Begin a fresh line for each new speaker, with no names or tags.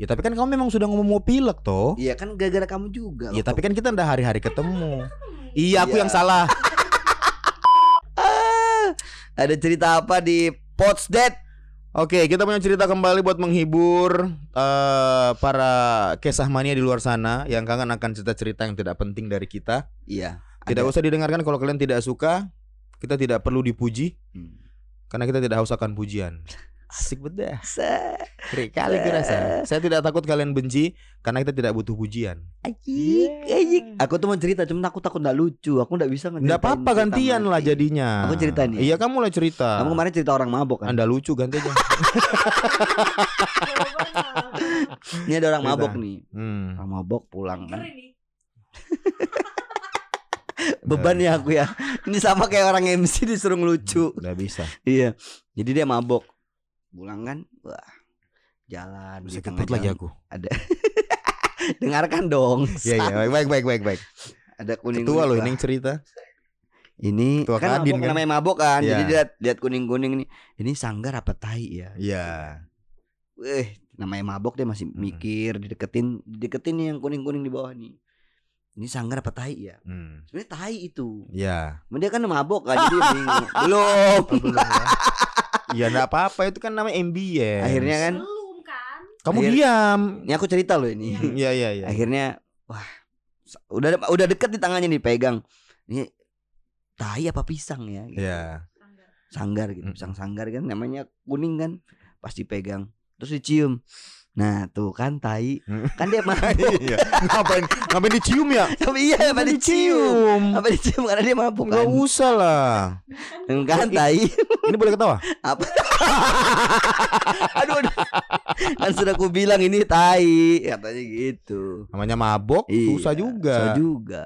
Ya tapi kan kamu memang sudah ngomong mau pilek toh.
Iya kan gara-gara kamu juga.
Ya
loh.
Oh. tapi kan kita ndak hari-hari ketemu. Iya aku
Iya.
yang salah.
Ah, ada cerita apa di Pots Dead?
Oke, kita punya cerita kembali buat menghibur eh, para kesah mania di luar sana yang kangen akan cerita-cerita yang tidak penting dari kita.
Iya.
Tidak
ada.
usah didengarkan kalau kalian tidak suka. Kita tidak perlu dipuji
Hmm.
karena kita tidak haus akan pujian. Asik bedah.
Se-
Kali kurasa. Saya tidak takut kalian benci karena kita tidak butuh pujian.
Ajik, ajik. Aku tuh mau cerita, cuman aku takut nggak lucu. Aku nggak bisa ngeceritain
Enggak apa-apa
cerita
gantian lah
mati.
jadinya.
Aku ceritain ya?
Iya, kamu lah cerita.
Kamu kemarin cerita orang mabok kan?
Anda lucu ganti aja.
Ini ada orang
Cerita.
mabok nih.
Hmm.
Orang mabok pulang kan.
Ngeri nih.
Beban ya aku ya. Ini sama kayak orang MC disuruh ngelucu.
Enggak bisa.
Iya. Jadi dia mabok. Pulang kan? Wah. Jalan di
Sakit
tengah
perut lagi
jalan.
aku.
Dengarkan dong.
Iya, iya, baik baik baik baik baik.
Ada kuning.
Ketua loh
lah.
ini yang cerita.
Ini
Ketua
kan
Kadin,
mabok,
kan?
namanya mabok kan. Jadi
Iya.
dia lihat, lihat kuning-kuning nih. Ini sanggar apa tai ya?
Iya.
Eh, namanya mabok dia masih
Mm.
mikir, dideketin, dideketin nih yang kuning-kuning di bawah nih. Ini sanggar apa tai ya?
Hmm.
Sebenarnya tai itu.
Iya.
Cuman Dia kan mabok kan jadi dia bingung. Belum.
Iya enggak apa-apa itu kan namanya ambience.
Akhirnya kan
Belum kan?
kamu
akhir-
diam.
ini aku cerita loh ini.
Iya iya iya.
Akhirnya wah sa- udah udah deket di tangannya nih pegang. Ini tai apa pisang ya? gitu.
Iya.
Sanggar.
Sanggar gitu,
Mm.
pisang sanggar kan namanya kuning kan. Pas dipegang terus dicium. Nah, tuh kan tai.
Mm.
Kan dia mabuk.
Iya. Ngapain ngapain dicium ya?
Tapi iya apa dicium? Apa dicium karena dia mabuk
Enggak
kan?
usah lah.
Kan tai.
Ini boleh ketawa?
apa aduh, aduh. kan sudah aku bilang ini tai katanya gitu
Namanya mabok
Iya,
susah juga.
susah juga